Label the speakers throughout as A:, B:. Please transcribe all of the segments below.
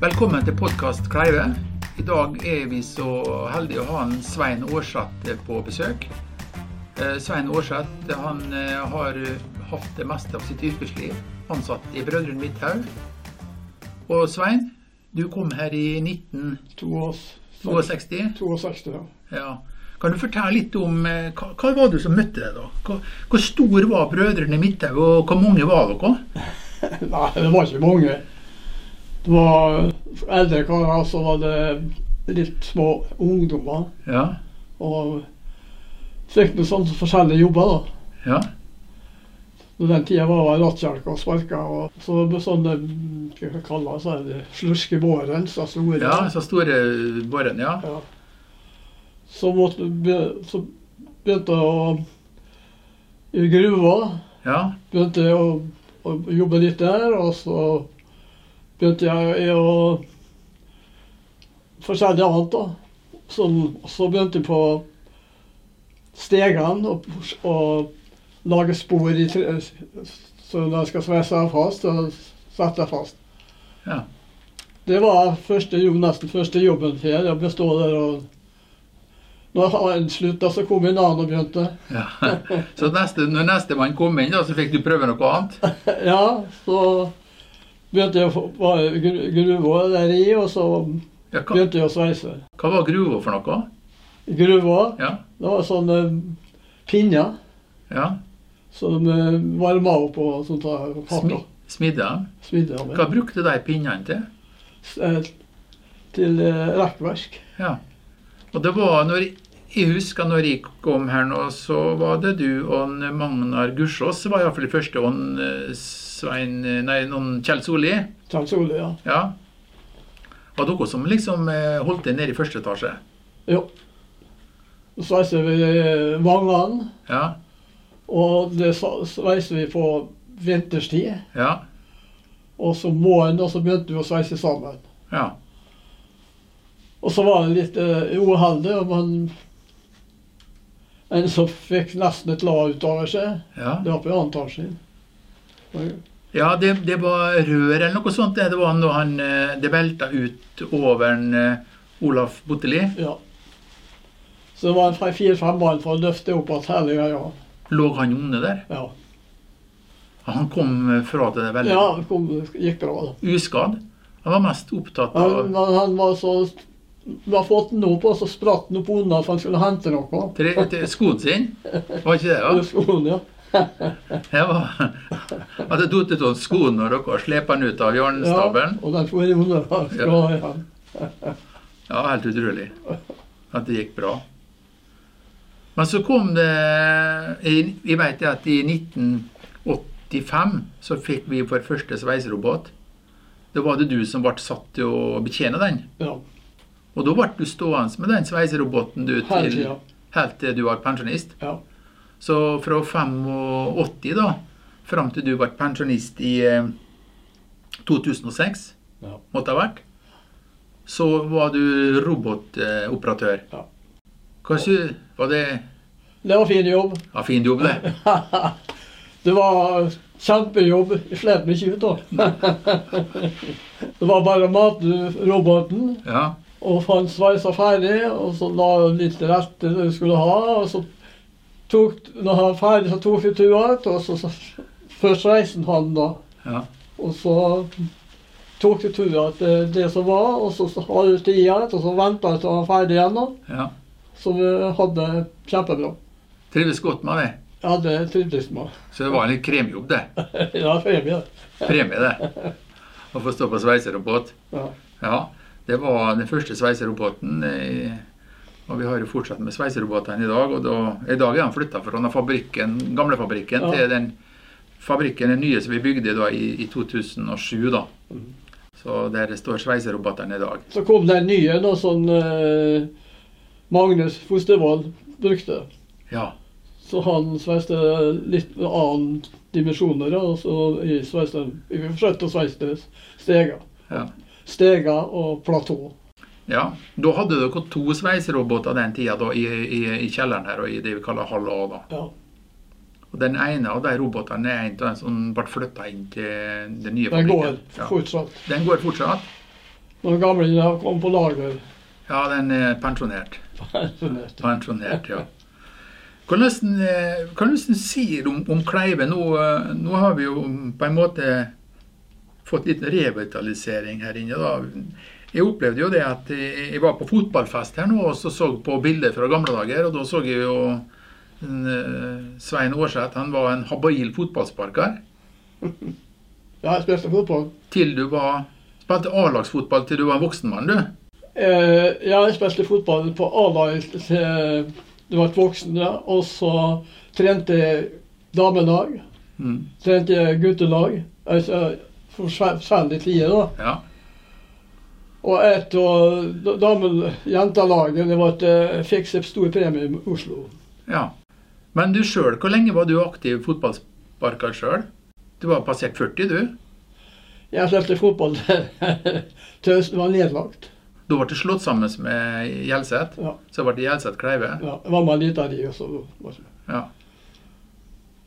A: Velkommen til podkast Kleive. I dag er vi så heldige å ha en Svein Aarseth på besøk. Eh, Svein Aarseth han eh, har hatt det meste av sitt yrkesliv ansatt i Brødrene Midthaug. Og Svein, du kom her i 1962.
B: 62, ja.
A: Ja. Kan du fortelle litt om eh, hva, hva var det som møtte deg da? Hvor, hvor stor var Brødrene Midthaug, og hvor mange var dere?
B: Nei, det var ikke mange. Det var eldre karer, og så var det litt små ungdommer.
A: Ja,
B: Og fikk med sånne forskjellige jobber, da.
A: ja,
B: På den tida var jeg rattkjelke og sparka, og så med sånne mm, hva skal jeg kalle det, så er det sluskebåren, så store.
A: ja så store båren, ja.
B: Ja. Så, måtte, be- så begynte jeg å I gruva
A: ja.
B: begynte jeg å, å jobbe litt der, og så begynte jeg å forskjellig annet, da. Så, så begynte jeg på stegene og, og lage spor i tre, så når jeg skal sveise fast, så setter jeg fast.
A: Ja.
B: Det var første jobb, nesten første jobben her. Jeg bestod der og Når han slutta, så kom en annen og begynte.
A: Ja. Så neste, når nestemann kom inn, da, så fikk du prøve noe annet?
B: Ja, så begynte jeg å få- var i gru- gruva der i, og så
A: Ja, hva,
B: begynte jeg å sveise.
A: hva var gruva for noe?
B: Gruva,
A: Ja,
B: det var sånne eh, pinner
A: ja.
B: som eh, varma opp og sånt der. og
A: Smi,
B: pakka-
A: smidde dem.
B: Smidde av
A: Hva
B: med.
A: brukte de pinnene til?
B: S- eh, Til eh, rekkverk.
A: Ja. Og det var når jeg husker når jeg kom her nå, så var det du og en Magnar Gursås var iallfall det første, og en, eh, Svein eh, Nei, noen Kjell Solli.
B: Tjensole, ja.
A: Ja. Var dere som liksom eh, holdt det nede i første etasje?
B: Jo. Sveiser vi eh, vangene.
A: Ja.
B: Og det sa- sveiser vi på vinterstid.
A: Ja.
B: Og så våren, og så begynte vi å sveise sammen.
A: Ja.
B: Og så var det litt uh, uheldig, og man En som fikk nesten et lag utover seg.
A: ja.
B: Det var på annen etasje. Og-
A: Ja, det, det var rør eller noe sånt. Det, det var når han, eh, det velta ut over en, eh, Olaf Botteli.
B: Ja. Så det var en fire-fem mann for å løfte opp at hele greia.
A: Lå han under der?
B: Ja.
A: Han kom eh, fra det veldig
B: ja det kom, gikk bra, da.
A: uskadd. Han var mest opptatt av
B: Men, men han var så Vi har fått den opp, og så spratt han opp unna for han skulle hente noe.
A: tre, tre, skoen sin. Var ikke det,
B: Ja.
A: da?
B: Skoene, ja.
A: Det var, hadde datt ut av skoen når dere slepte han ut av
B: Ja,
A: hjørnestabelen.
B: og den får jeg under. Ja. Ja.
A: Ja, helt utrolig at det gikk bra. Men så kom det Jeg jeg vet at i 1985 så fikk vi vår første sveiserobot. Da var det du som ble satt til å betjene den.
B: ja.
A: Og da ble du stående med den sveiseroboten du
B: Hele
A: til,
B: tida.
A: helt til du var pensjonist.
B: Ja.
A: Så fra 85 da, fram til du ble pensjonist i eh, 2006,
B: Ja.
A: måtte ha vært, så var du robotoperatør.
B: Ja.
A: Hva sy- Var det
B: Det var fin jobb.
A: ja, fin jobb, det?
B: Det var kjempejobb. Jeg slet meg ikke ut, da. Det var bare å mate roboten,
A: Ja.
B: og få den sveisa ferdig, og så la jeg litt til rette det du skulle ha, og så tok Når han var ferdig, så tok vi turen igjen, og så, så Først reiste han, da.
A: ja.
B: Og så tok jeg turen til det som var, og så så hadde jeg tid igjen, og så venta jeg til han var ferdig igjen. da.
A: ja.
B: Så vi hadde kjempebra.
A: Trives godt med det.
B: Jeg hadde trivdes med det.
A: Så det var en litt kremjobb, det.
B: Ja, premie.
A: Premie, det. Å få stå på sveiserobot.
B: Ja.
A: Ja, det var den første sveiseroboten. eh, Og vi har jo fortsatt med sveiserobotene i dag. Og da, i dag er han flytta fra den fabrikken, gamle fabrikken
B: Ja.
A: til den fabrikken, den nye som vi bygde da i, i 2007. da.
B: Mhm.
A: Så der står sveiserobotene i dag.
B: Så kom den nye, da, som eh, Magnus Fostervold brukte.
A: Ja,
B: Så han sveiste litt annen dimensjoner, da, og så i sveiste, vi forsøkte å sveise steger.
A: ja.
B: Steger og platå.
A: ja. Da hadde dere to sveiseroboter den tida da, i, i, i kjelleren her og i det vi kaller hall A. da.
B: Ja.
A: Og Den ene av de robotene er en av de som ble flytta inn til den nye
B: Den går
A: fabrikken. Ja.
B: fortsatt.
A: Den går fortsatt.
B: Når gamlingene kom på lager.
A: Ja, den er pensjonert.
B: Pensjonert.
A: Pensjonert, ja. Hvordan, eh, hvordan sier du om, om Kleive? Nå, eh, nå har vi jo på en måte fått litt revitalisering her inne. da. Jeg opplevde jo det at jeg jeg var på fotballfest her nå og så, så på bilder fra gamle dager. Og da så jeg jo eh, Svein Aarseth. Han var en habil fotballsparker.
B: Ja, jeg spilte fotball.
A: Til du var Spilte A-lagsfotball til du var en voksen mann, du.
B: Eh, ja, jeg spilte fotball på A-laget til eh, du var voksen, ja. Og så trente jeg damelag.
A: Mm.
B: Trente jeg eh, guttelag. Altså, for svæ- svenlig tid, da.
A: Ja.
B: Og et av da- damen- jentelagene det var at jeg fikk seg stor premie i Oslo.
A: ja. Men du sjøl, hvor lenge var du aktiv fotballsparker sjøl? Du var passert 40, du.
B: Jeg spilte fotball til høsten var nedlagt.
A: Da ble det slått sammen med Gjelseth.
B: Ja.
A: Så ble det Gjelseth Kleive.
B: Ja, jeg var med litt av de også. Ja,
A: Ja.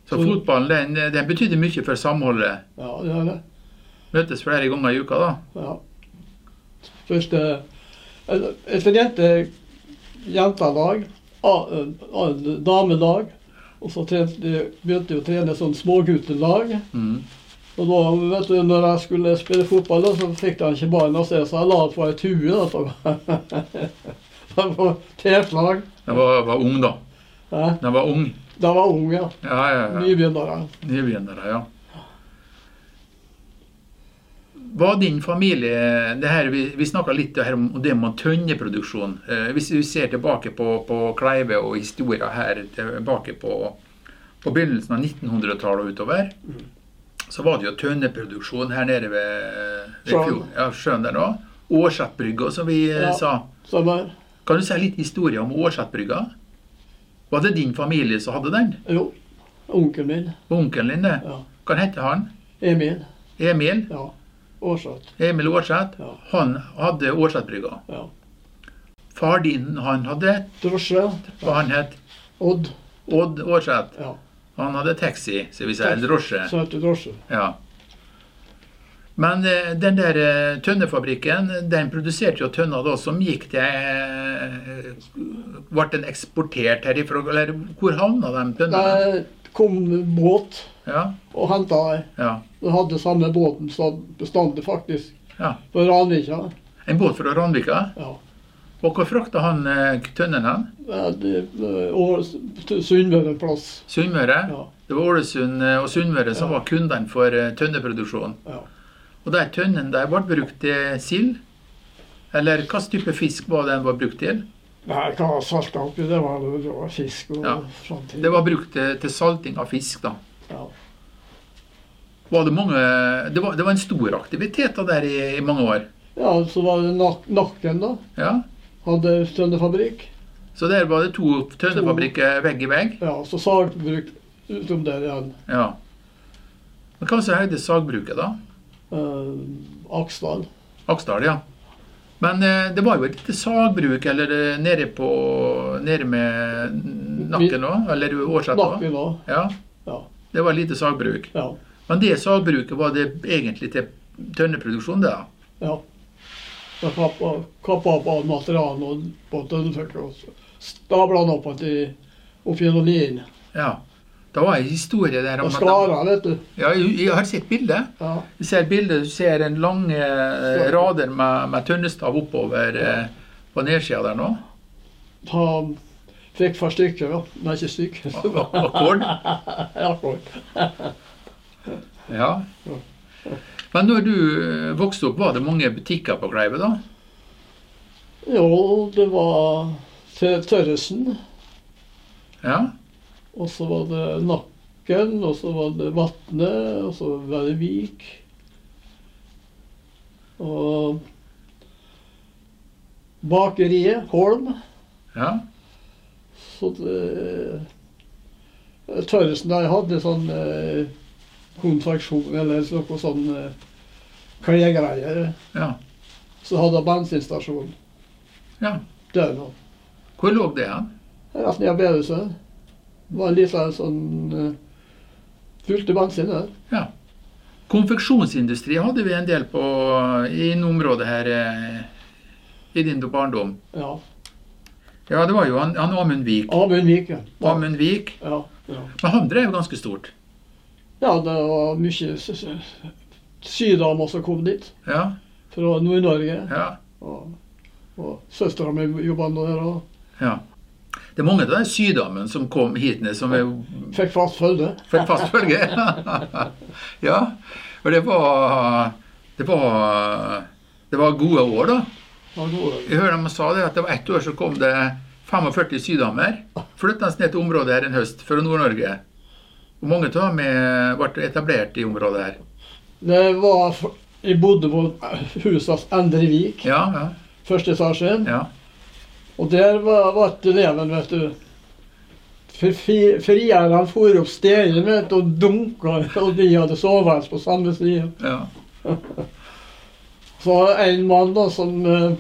A: Så
B: Så-
A: fotballen den, den betydde mye for samholdet.
B: det er det.
A: Møtes flere ganger i uka, da.
B: Ja. Først eh, jeg- Jeg trente jentelag, a- eh, a- damelag. Og så trente, begynte jeg å trene sånn småguttelag.
A: Mm.
B: Og da, vet du, når jeg skulle spille fotball, da, så fikk han ikke ballen av sted, så jeg la den på ei tue. da, så- Da var tert lag.
A: Den var, var ung, da.
B: Ja,
A: Den var ung.
B: Da var jeg ung, ja.
A: Ja, ja, ja.
B: Nybegynnere.
A: Nybegynnere, ja. Var din familie det her, Vi, vi snakka litt det her om det med tønneproduksjon. Eh, hvis vi ser tilbake på, på Kleive og historia her tilbake på, på begynnelsen av 1900-tallet og utover, så var det jo tønneproduksjon her nede ved, ved
B: Sjøen.
A: fjorden. Ja, sjøen der da. Årsetbrygga, som vi eh,
B: Ja.
A: sa.
B: Stemmer.
A: Kan du si litt historie om Årsetbrygga? Var det din familie som hadde den?
B: Jo. Onkelen min.
A: Onkelen din, det?
B: Ja.
A: Hva heter han?
B: Emil.
A: Emil?
B: Ja. Årsatt.
A: Emil Aarseth,
B: Ja.
A: han hadde Aarseth-brygga.
B: Ja.
A: Far din, han hadde,
B: Drosje.
A: hva han het,
B: Odd.
A: Odd Aarseth.
B: Ja.
A: Han hadde taxi, som vi sier,
B: Taxi.
A: drosje.
B: Søte drosje.
A: Ja. Men eh, den der eh, tønnefabrikken, den produserte jo tønner da som gikk til eh, Ble den eksportert herifra, eller hvor havna de tønnene?
B: Der kom båt
A: Ja,
B: og henta meg.
A: ja,
B: Den hadde samme båten som bestandig, faktisk.
A: ja.
B: På Ranvika.
A: En båt fra Ranvika.
B: Ja.
A: Og hvor frakta han eh, tønnen hen?
B: Ja, det- eh, Og Sunnmøre plass.
A: Sunnmøre?
B: Ja.
A: Det var Ålesund eh, og Sunnmøre som
B: Ja.
A: var kundene for eh, tønneproduksjon.
B: ja.
A: Og de tønnene der ble brukt til sild? Eller hva type fisk var den var brukt til?
B: Nei, hva salta oppi, det var, det var fisk og
A: Ja.
B: sånne ting.
A: Det var brukt til, til salting av fisk, da.
B: Ja.
A: Var det, mange, det, var, det var en stor aktivitet da der i, i mange år.
B: ja, så var det nak Nakken, da.
A: Ja.
B: Hadde tønnefabrikk.
A: Så der var det to tønnefabrikker vegg i vegg.
B: Ja, så sagbruk utom der igjen.
A: Ja. Men hva så heter sagbruket, da?
B: Eh, Aksdal.
A: Aksdal, ja. Men eh, det var jo et lite sagbruk eller eh, nede på Nede med Nakken òg, eller Årset òg.
B: Nakken òg.
A: Ja.
B: Ja.
A: Det var et lite sagbruk.
B: Ja.
A: Men det sagbruket var det egentlig til tønneproduksjon, det da?
B: ja. Da kappa- kappa opp av materialet og på tønneføkka og så stabla han opp att i- opp gjennom lien.
A: Ja. Det var en historie der om
B: Og
A: at
B: skara, vet du.
A: Ja, jeg jeg har sett bildet.
B: Ja.
A: Du ser bildet, du ser en lange eh, rader med, med tønnestav oppover eh, på nedsida der nå.
B: Han fikk for stykker, ja. Nei, ikke stykker.
A: Ak- Akkord.
B: Akkurat.
A: Ja. Men når du eh, vokste opp, var det mange butikker på Kleive da?
B: Jo, det var Tø- Tørresen,
A: Ja.
B: og så var det Nakken, og så var det Vatne, og så var det Vik. Og bakeriet Holm.
A: ja.
B: Så det eh, Tørresen der hadde sånn eh, kontraksjon eller noe sånn eh, klegreier.
A: Ja.
B: Så hadde han bensinstasjon
A: ja.
B: der nå.
A: Hvor lå det hen?
B: Rett ned av bedehuset. Det var en liten sånn eh, Fylte bensin der.
A: Konfeksjonsindustri hadde vi en del på i området her eh, i din barndom.
B: Ja.
A: Ja, det var jo han, han Amund Vik.
B: Amund Vike. Ja,
A: Amund Vik.
B: ja, ja.
A: Men han drev ganske stort.
B: ja, det var mye s- s- sydamer som kom dit
A: Ja,
B: fra Nord-Norge.
A: ja,
B: Og, og søstera mi jobba nå her og
A: ja. Det er mange av de sydamene som kom hit ned, som er jo
B: fikk fast følge.
A: for fast følge. ja. Og det var Det var det var gode år, da.
B: Ja, gode.
A: Jeg hører de sa det at det var ett år så kom det 45 sydamer flyttende ned til området her en høst fra Nord-Norge. Og mange av dem er- ble etablert i området her.
B: Det var f- Jeg bodde på husets Endre Vik,
A: Ja, ja,
B: første etasjen.
A: ja.
B: Og der var, var det eleven, vet du. For fi- Frierne for opp stegen vet du, og dunka, og de hadde soveværelse på samme side.
A: ja.
B: Så var det en mann da som eh,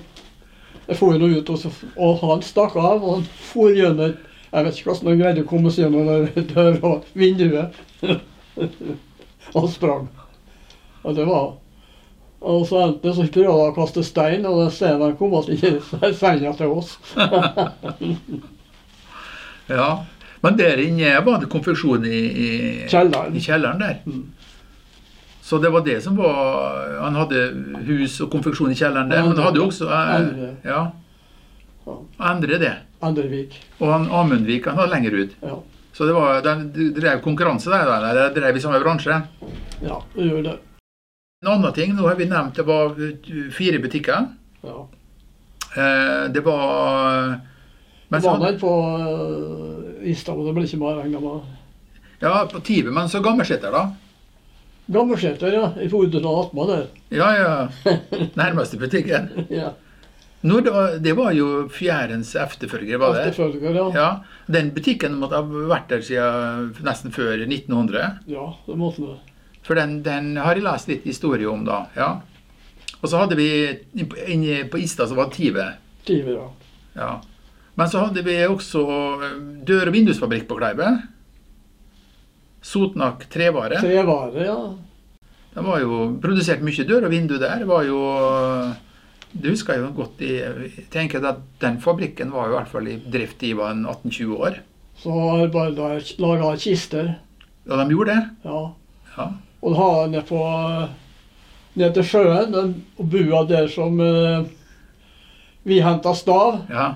B: Jeg for nå ut, og, så, og han stakk av. Og han for gjennom et Jeg vet ikke hvordan han greide å komme seg gjennom der døra og vinduet. han sprang. Og det var Og så endte det så prøvde han å kaste stein, og den steinen han kom tilbake i senga til oss.
A: ja. Men der inne var det konfeksjon i, i,
B: Kjelleren.
A: i kjelleren der.
B: Mm.
A: Så det var det som var Han hadde hus og konfeksjon i kjelleren der,
B: Ja,
A: men han hadde jo også eh,
B: Endre.
A: Ja.
B: Ja.
A: Endre det.
B: Andrevik.
A: Og han Amundvik han var lenger ut.
B: Ja.
A: Så det var, de drev konkurranse der, da, eller de drev i samme bransje.
B: ja, det gjorde det.
A: En annen ting, nå har vi nevnt det var uh, fire butikker.
B: Ja.
A: Eh, Det var men
B: Jeg
A: så,
B: var der på uh, Istanbul, det ble ikke mer enn gammel.
A: Ja, på Tiber, men så Gammersæter, da.
B: Gammelseter, ja. I Fodden og Atma der.
A: Ja, ja. Nærmeste butikken.
B: Ja.
A: Nå, det, var, det var jo fjærens efterfølger, var det?
B: Efterfølger, ja.
A: Ja, Den butikken måtte ha vært der siden nesten før 1900.
B: Ja, det måtte det.
A: For den, den har jeg lest litt historie om, da. ja. Og så hadde vi inne på Ista så var det Tiber.
B: Tiver, ja.
A: Ja. Men så hadde vi også eh, dør- og vindusfabrikk på Kleibe. Sotnak trevare.
B: Trevare, ja.
A: Det var jo produsert mye dør og vindu der. Det var jo Det husker jeg jo godt. i- Jeg tenker at den fabrikken var jo i hvert fall i drift i var en 18-20 år.
B: Så har jeg bare laga kister.
A: Og de gjorde det.
B: Ja.
A: Ja.
B: Og har nede på Nede til sjøen, den bua der som eh, vi henta stav,
A: Ja.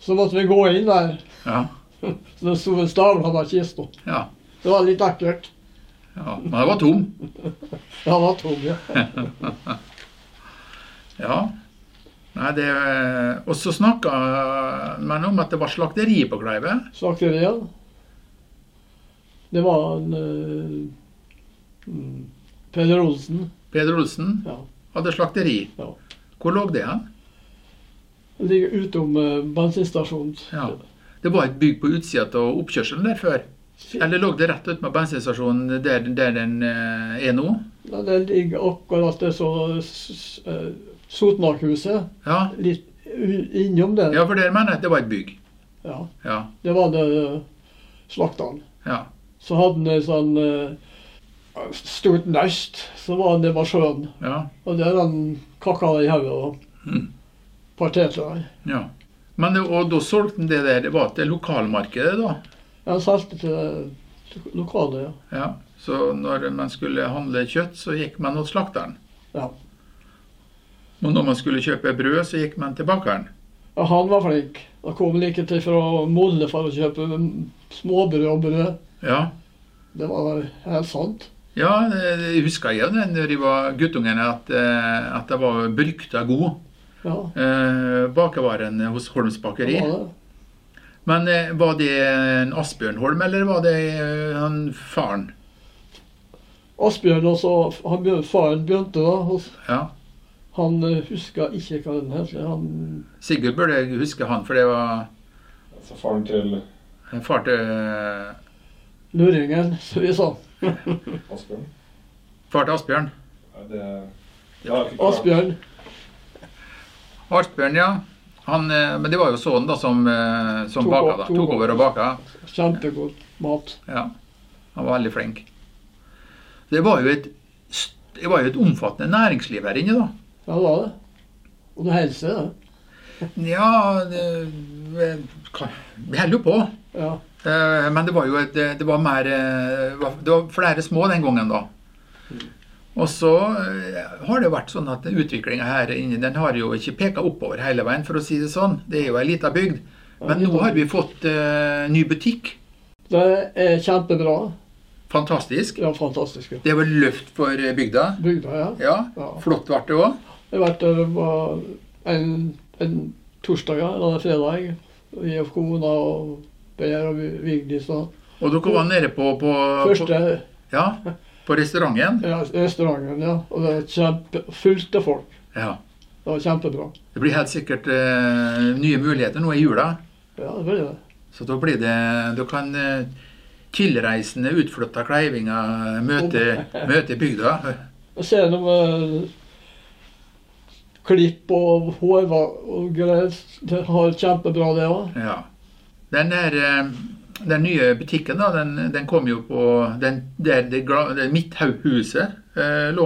B: så måtte vi gå inn der.
A: Ja.
B: Så det sto en stavladd kiste.
A: ja.
B: Det var litt ekkelt.
A: ja. Men det var tom.
B: Ja, det var tung, ja.
A: Ja. Nei, det Og så snakka man om at det var slakteri på Kleive.
B: Slakteriet. Det var en eh, mm, Peder Olsen.
A: Peder Olsen
B: Ja.
A: hadde slakteri.
B: Ja.
A: Hvor lå det hen?
B: Det Ligger utom eh, bensinstasjonen.
A: Ja. Det var et bygg på utsida av oppkjørselen der før. Eller lå det rett ut med bensinstasjonen der, der den eh, er nå?
B: Ja, det ligger akkurat det så s- eh, Sotmarkhuset.
A: Ja.
B: Litt u- innom det.
A: ja, for der mener jeg at det var et bygg.
B: Ja,
A: Ja.
B: det var det eh, slakteren.
A: ja.
B: Så hadde han en sånn eh, stort nest som var nede ved sjøen.
A: ja.
B: Og der han kakka i hodet og
A: Mm.
B: parterte der.
A: ja. Men, det- og da solgte den det der Det var til lokalmarkedet, da.
B: Jeg solgte til det lokale, ja.
A: Ja. Så når man skulle handle kjøtt, så gikk man hos slakteren.
B: ja.
A: Og når man skulle kjøpe brød, så gikk man til bakeren.
B: Ja, Han var flink. Han kom like til fra Molle for å kjøpe mm, småbrød og brød.
A: Ja.
B: Det var helt sant.
A: Ja, jeg husker jeg det når jeg var guttungen, at, eh, at jeg var brykta god
B: Ja,
A: eh, bakevaren hos Holms
B: det
A: bakeri.
B: var det.
A: Men eh, var det en Asbjørn Holm, eller var det eh, han faren?
B: Asbjørn og så han, begyn- faren begynte da. hos-
A: Ja.
B: Han eh, husker ikke hva den het. Han
A: Sigurd burde jeg huske han, for det var
C: Så faren til
A: far til, eh,
B: luringen, som vi sa.
C: Asbjørn?
A: far til Asbjørn.
C: Nei, det Jeg har ikke klart-
B: Asbjørn.
A: Asbjørn, ja. Han, eh, men det var jo sønnen da som, eh, som
B: Tok
A: baka,
B: o-
A: da.
B: tok
A: Tok over
B: over.
A: og baka.
B: Kjempegod mat.
A: Ja. Han var veldig flink. Det var jo et st- Det var jo et omfattende næringsliv her inne, da.
B: Ja, det var det. Og noe helse, det.
A: Ja, det, hva- vi holder jo på.
B: Ja.
A: Eh, Men det var jo et, det var mer eh, Det var flere små den gangen, da. Og så eh, har det vært sånn at utviklinga her inne den har jo ikke peka oppover hele veien, for å si det sånn. Det er jo ei lita bygd. Men nå har vi fått eh, ny butikk.
B: Det er kjempebra.
A: Fantastisk.
B: Ja, fantastisk. Ja.
A: Det var løft for eh, bygda.
B: Bygda, ja.
A: Ja,
B: Ja.
A: flott ble det òg.
B: Jeg har vært der på en, en torsdag ja, eller en fredag. Vi og kona og Per og Vigdis og
A: Og dere var nede på, på, på,
B: Første
A: ja, på restauranten.
B: ja, restauranten, ja. Og det var kjempe, fullt av folk.
A: Ja.
B: Det var kjempebra.
A: Det blir helt sikkert eh, nye muligheter nå i jula.
B: Ja, det ble det.
A: Så da blir det Da kan eh, tilreisende, utflytta kleivinger eh, møte, møte bygda.
B: Jeg ser noen eh, klipp og hår og greier. Det har kjempebra, det òg.
A: Ja. Den der eh, den nye butikken da, den, den kom jo på den, der det, gla- det Midthaughuset eh, lå,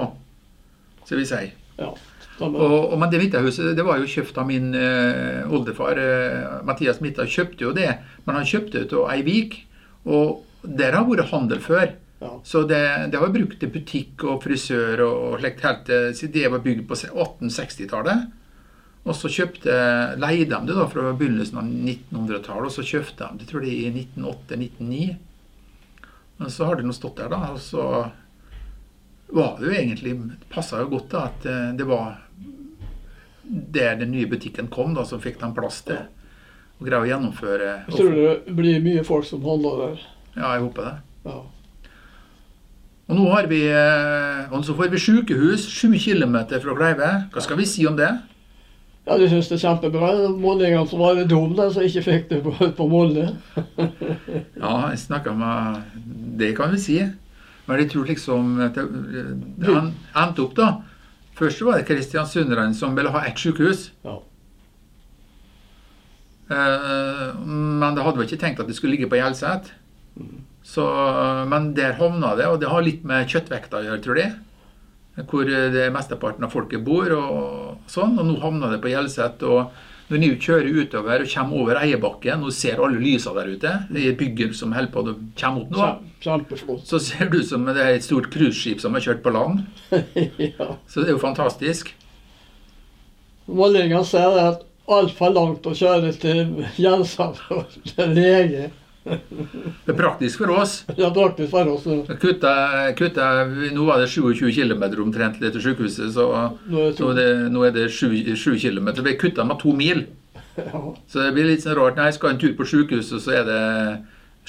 A: skal vi si.
B: Ja. stemmer.
A: Og, og, men det Midthaughuset det var jo kjøpt av min eh, oldefar. Eh, Mathias Midthaug kjøpte jo det, men han kjøpte det av ei vik. Og der har vært handel før.
B: Ja.
A: Så det, det har vi brukt til butikk og frisør og, og slikt helt til siden det var bygd på se- 1860-tallet. Og så kjøpte, leide de det da fra begynnelsen av 1900-tallet, og så kjøpte de det tror jeg, i 1908-1909. Men så har det nå stått der, da. Og så var det jo egentlig Passa jo godt da, at eh, det var der den nye butikken kom, da, som fikk de plass til. Og greie å gjennomføre.
B: Jeg tror det blir mye folk som handler der.
A: Ja, jeg håper det.
B: Ja.
A: Og nå har vi, eh, og så får vi sykehus 7 km fra Kleive. Hva skal vi si om det?
B: Ja, de syns det er kjempebra. Målingene som var litt dumme, som ikke fikk det på, på Molde.
A: Ja, jeg snakka med Det kan vi si. Men jeg tror liksom at det, det han endte opp, da. Først var det kristiansunderne som ville ha ett sykehus.
B: Ja.
A: Eh, Men det hadde vel ikke tenkt at det skulle ligge på Hjelset. Så, eh, men der havna det, og det har litt med kjøttvekta å gjøre, tror jeg. Hvor eh, det mesteparten av folket bor og sånn. Og nå havna det på Hjelset. Og når du kjører utover og kommer over Eiebakken og ser alle lysa der ute, i bygget som holder på å komme opp nå,
B: Kjem- Kjempeflott.
A: så ser det ut som det er et stort cruiseskip som har kjørt på land.
B: ja.
A: Så det er jo fantastisk.
B: Målingene sier det at altfor langt å kjøre til Jensheim og til lege.
A: Det er praktisk for oss.
B: Det er praktisk for oss nå.
A: Kutta, kutta, nå var det 27 km omtrent litt til sykehuset, så,
B: Nå er det to.
A: så det, nå er det 7 km. Det ble kutta med to mil.
B: Ja.
A: Så det blir litt sånn rart. Nei, skal en tur på sykehuset, så er det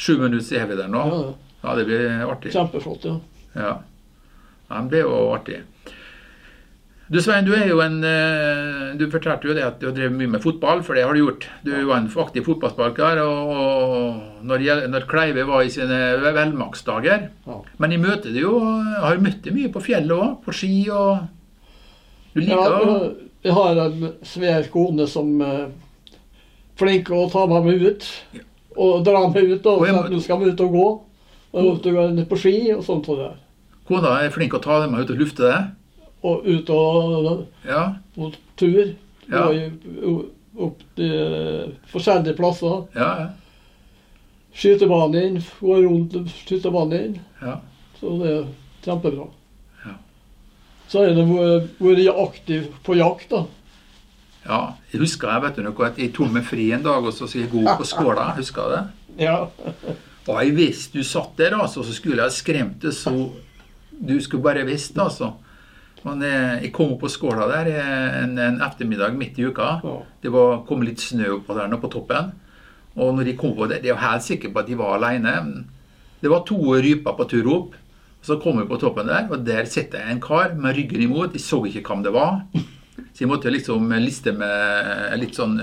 A: sju minutter, så er vi der nå.
B: Ja, ja.
A: Ja, det blir artig.
B: Kjempeflott, ja.
A: Ja. ja det blir jo artig. Du Svein, du er jo en eh, Du fortalte jo det at du har drevet mye med fotball, for det har du gjort. Du var en aktiv fotballsparker, og, og når, Gjel- når Kleive var i sine velmaktsdager
B: ja.
A: men jeg møter det jo, jeg har møtt det mye på fjellet òg, på ski og Du
B: Ja,
A: liker å
B: og jeg har en svær kone som er flink å ta med meg ut. Og dra meg ut, da.
A: Og jeg
B: Så
A: må-
B: at nå skal vi ut og gå. Og ut og gå ned på ski og sånt. Og, der.
A: Kona er flink å ta dem ut og lufte det.
B: og ut og
A: Ja.
B: på tur.
A: Ja.
B: Og i- o- opp til eh, forskjellige plasser.
A: ja,
B: Skytebanen inn, gå rundt skytebanen inn.
A: ja.
B: Så det er kjempebra.
A: Ja.
B: Så har jeg vært vært aktiv på jakt, da.
A: ja. Jeg husker jeg vet du noe, at jeg tok meg fri en dag og så skulle jeg gå på skåla. Husker du det?
B: Ja.
A: Og jeg visste du satt der, altså, så skulle jeg skremt det så Du skulle bare visst, altså. Men jeg, jeg kom opp på skåla der eh, en, en ettermiddag midt i uka.
B: Ja.
A: Det var, kom litt snø oppå der nå på toppen. Og når de kom på det, jeg var helt sikker på at de var alene. Det var to ryper på tur opp. Så kom vi på toppen der, og der sitter jeg en kar med ryggen imot. Jeg så ikke hvem det var. Så jeg måtte liksom liste med litt sånn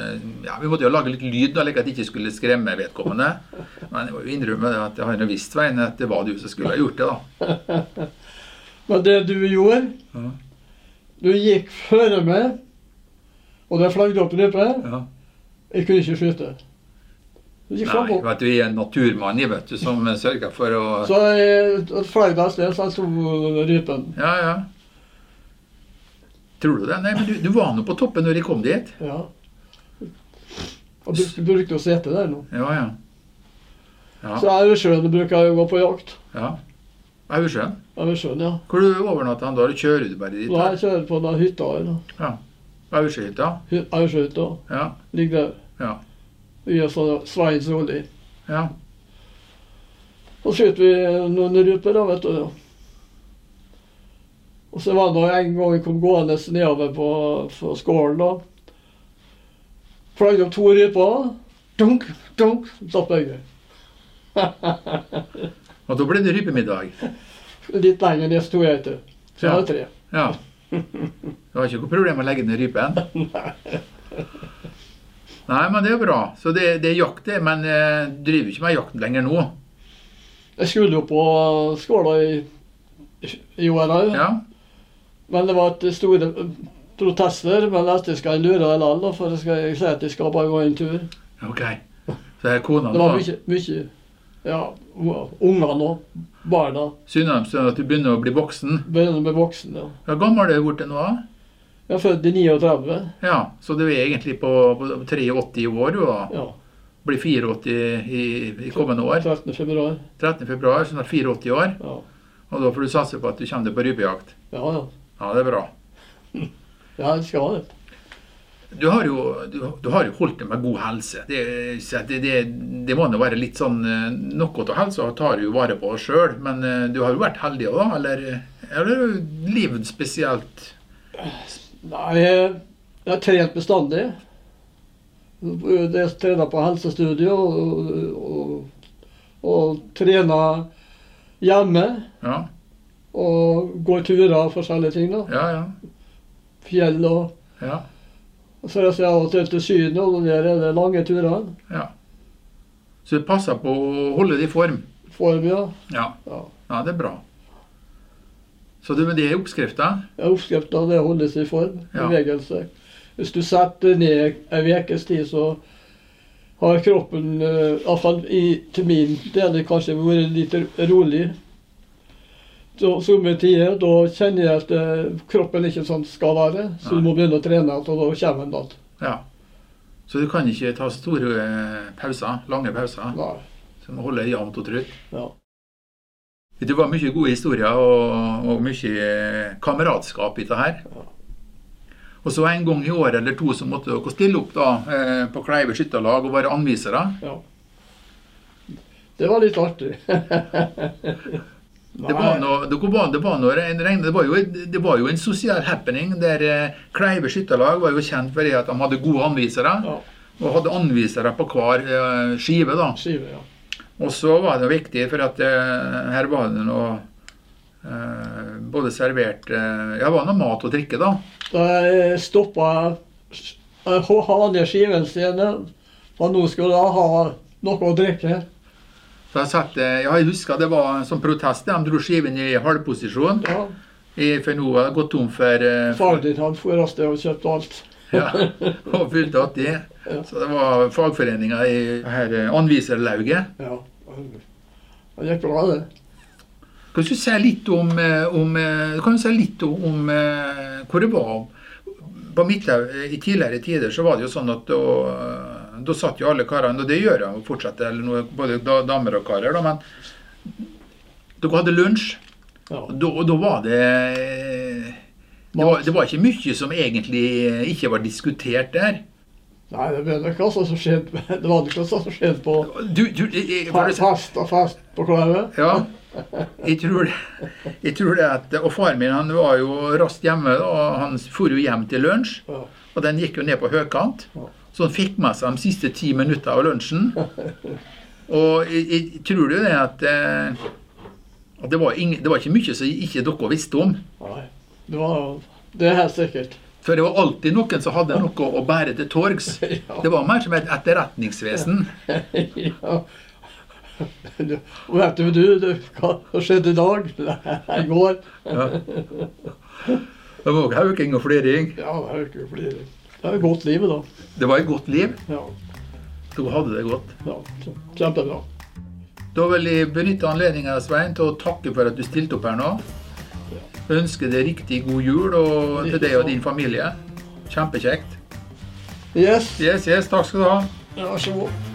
A: Ja, vi måtte jo lage litt lyd, da, like at jeg ikke skulle skremme vedkommende. Men jeg må jo innrømme det at jeg har jo visst, Svein, at det var du som skulle ha gjort det, da.
B: Men det du gjorde
A: Ja.
B: Du gikk føre meg, og det flagget opp rype.
A: Ja.
B: Jeg kunne ikke skyte. Det gikk
A: Nei,
B: framover.
A: vet du, jeg er en naturmann jeg, vet du, som sørger for å
B: Så jeg fløy meg av sted, så jeg sto rypen.
A: Ja, ja. Tror du det? Nei, men du, du var nå på toppen når jeg kom dit.
B: Ja. Og brukte, brukte jo sete der nå.
A: Ja, ja. Ja,
B: Så Aursjøen bruker jeg jo gå på jakt.
A: ja. Aursjøen.
B: Aursjøen, ja.
A: Hvor du overnatta han da? Eller Kjører du bare dit?
B: Nå
A: da?
B: er jeg kjører på den hytta her. da.
A: Aursjøhytta?
B: Hy- Aursjøhytta
A: Ja.
B: ligger der.
A: Ja.
B: Vi er fra Svein Solli.
A: ja.
B: Så skyter vi noen ryper, da, vet du. ja. Og så var det nå en gang vi kom gående nedover på, på skålen, da. Fløy opp to ryper. Dunk, dunk, datt begge.
A: Og da ble det rypemiddag.
B: Litt lenger ned sto jeg ikke. Så jeg hadde tre.
A: Ja. Du har ikke noe problem med å legge ned rypen? Nei, men det er bra. Så det, det er jakt, det. Men eh, driver ikke med jakt lenger nå.
B: Jeg skulle jo på skåla i, i år òg,
A: Ja.
B: men det var et store protester. Men dette skal jeg lure deg likevel, for jeg skal jeg sier at jeg skal bare gå en tur.
A: OK. Så er kona
B: Det var
A: da.
B: mye, mye ja, ungene og barna.
A: Synd sånn at du begynner å bli voksen.
B: Begynner med voksne. Ja.
A: Hvor gammel er du blitt nå? da?
B: Jeg er født i 39.
A: Ja, så du er egentlig på, på 83 i år, du da.
B: Ja,
A: Blir 84 i, i kommende år.
B: 13. februar.
A: 13. februar, så snart 84 år.
B: Ja,
A: Og da får du satse på at du kommer deg på rypejakt.
B: ja. ja.
A: Ja, det er bra.
B: ja jeg skal det.
A: Du har jo, du, du har jo holdt deg med god helse. Det, så det, det, det må nå være litt sånn eh, Noe av helsa tar du jo vare på sjøl, men eh, du har jo vært heldig òg, eller? eh, Eller livet spesielt?
B: Nei, jeg jeg har trent bestandig. Jeg trener på helsestudio og, og, og trener hjemme.
A: Ja,
B: Og går turer og forskjellige ting. da.
A: ja, ja.
B: Fjell og
A: ja.
B: og Så reiser jeg av og til til Syden, og der er det lange turer.
A: Så du passer på å holde deg i form.
B: Form, ja.
A: Ja.
B: Ja.
A: ja, det er bra. Så det, men det er oppskrifta?
B: Oppskrifta det er å holde seg i form.
A: Ja.
B: Bevegelse. Hvis du setter ned en ukes tid, så har kroppen, eh, iallfall til min del, kanskje vært litt rolig. Så Somme tider, da kjenner jeg at eh, kroppen ikke sånn skal være, så du
A: Nei.
B: må begynne å trene igjen, og da kommer den igjen.
A: Ja. Så du kan ikke ta store eh, pauser, lange pauser,
B: Nei.
A: så du må holde jevnt og trutt?
B: Ja.
A: Det var mye gode historier og, og mye eh, kameratskap i det her. Og så en gang i året eller to så måtte dere stille opp da, eh, på Kleive skytterlag og være anvisere.
B: ja. Det var litt artig.
A: Det var, noe, dere var, det, var noe, en regn- det, var jo, det var jo en sosial happening der eh, Kleive skytterlag var jo kjent for det at de hadde gode anvisere.
B: Ja.
A: Og hadde anvisere på hver eh, skive. da.
B: Skive, ja.
A: Og så var det jo viktig, for at eh, her var det noe eh, både servert eh, Ja, det var noe mat og drikke, da.
B: Da stoppa Hanne Skivenstene, for nå skulle jeg ha noe å drikke.
A: Så jeg satt, eh, ja, jeg husker det var som protest. De dro skiven i halvposisjon.
B: Ja,
A: i- For nå hadde jeg gått tom for eh,
B: Faren din han for av sted og kjøpte alt.
A: ja, Og fylte 80.
B: Ja.
A: Så det var fagforeninga i her eh, anviserlauget.
B: Ja. Det gikk bra, det.
A: Kan du si litt om, eh, om eh, Kan du si litt om, om eh, hvor det var på Midthaug eh, i tidligere tider? Så var det jo sånn at da, eh, da satt jo alle karene, og det gjør de jo fortsatt, eller noe, både da- damer og karer, da, men dere hadde lunsj.
B: Ja.
A: Og Da, og da var det det var, det var ikke mye som egentlig ikke var diskutert der.
B: Nei, det vet jeg ikke hva som skjedde. Det var ikke hva som skjedde på
A: Du, du, jeg, for å si-
B: fest og fest på Klæve.
A: ja, jeg tror, det, jeg tror det at Og faren min han var jo raskt hjemme, da, og han for jo hjem til lunsj.
B: Ja.
A: Og den gikk jo ned på høykant. Så han fikk med seg de siste ti minutter av lunsjen. Og jeg, jeg tror jo det at, eh, at det, var ing, det var ikke mye som ikke dere visste om.
B: Nei, det var Det er helt sikkert.
A: For det var alltid noen som hadde noe å bære til torgs. Det var mer som et etterretningsvesen.
B: Ja. Du- Vet du, du, du, hva skjedde i dag? Nei, i går?
A: Det var også hauking og fliring.
B: Ja, det er jo ikke flere. Det er jo godt livet, da.
A: Det var et godt liv.
B: Ja.
A: så hun hadde det godt.
B: Ja, så kjempebra.
A: Da vil jeg benytte anledningen Svein, til å takke for at du stilte opp her nå. Ønsker deg riktig god jul og til deg og din familie. Kjempekjekt.
B: Yes.
A: Yes, yes, takk skal du ha.
B: Vær så god.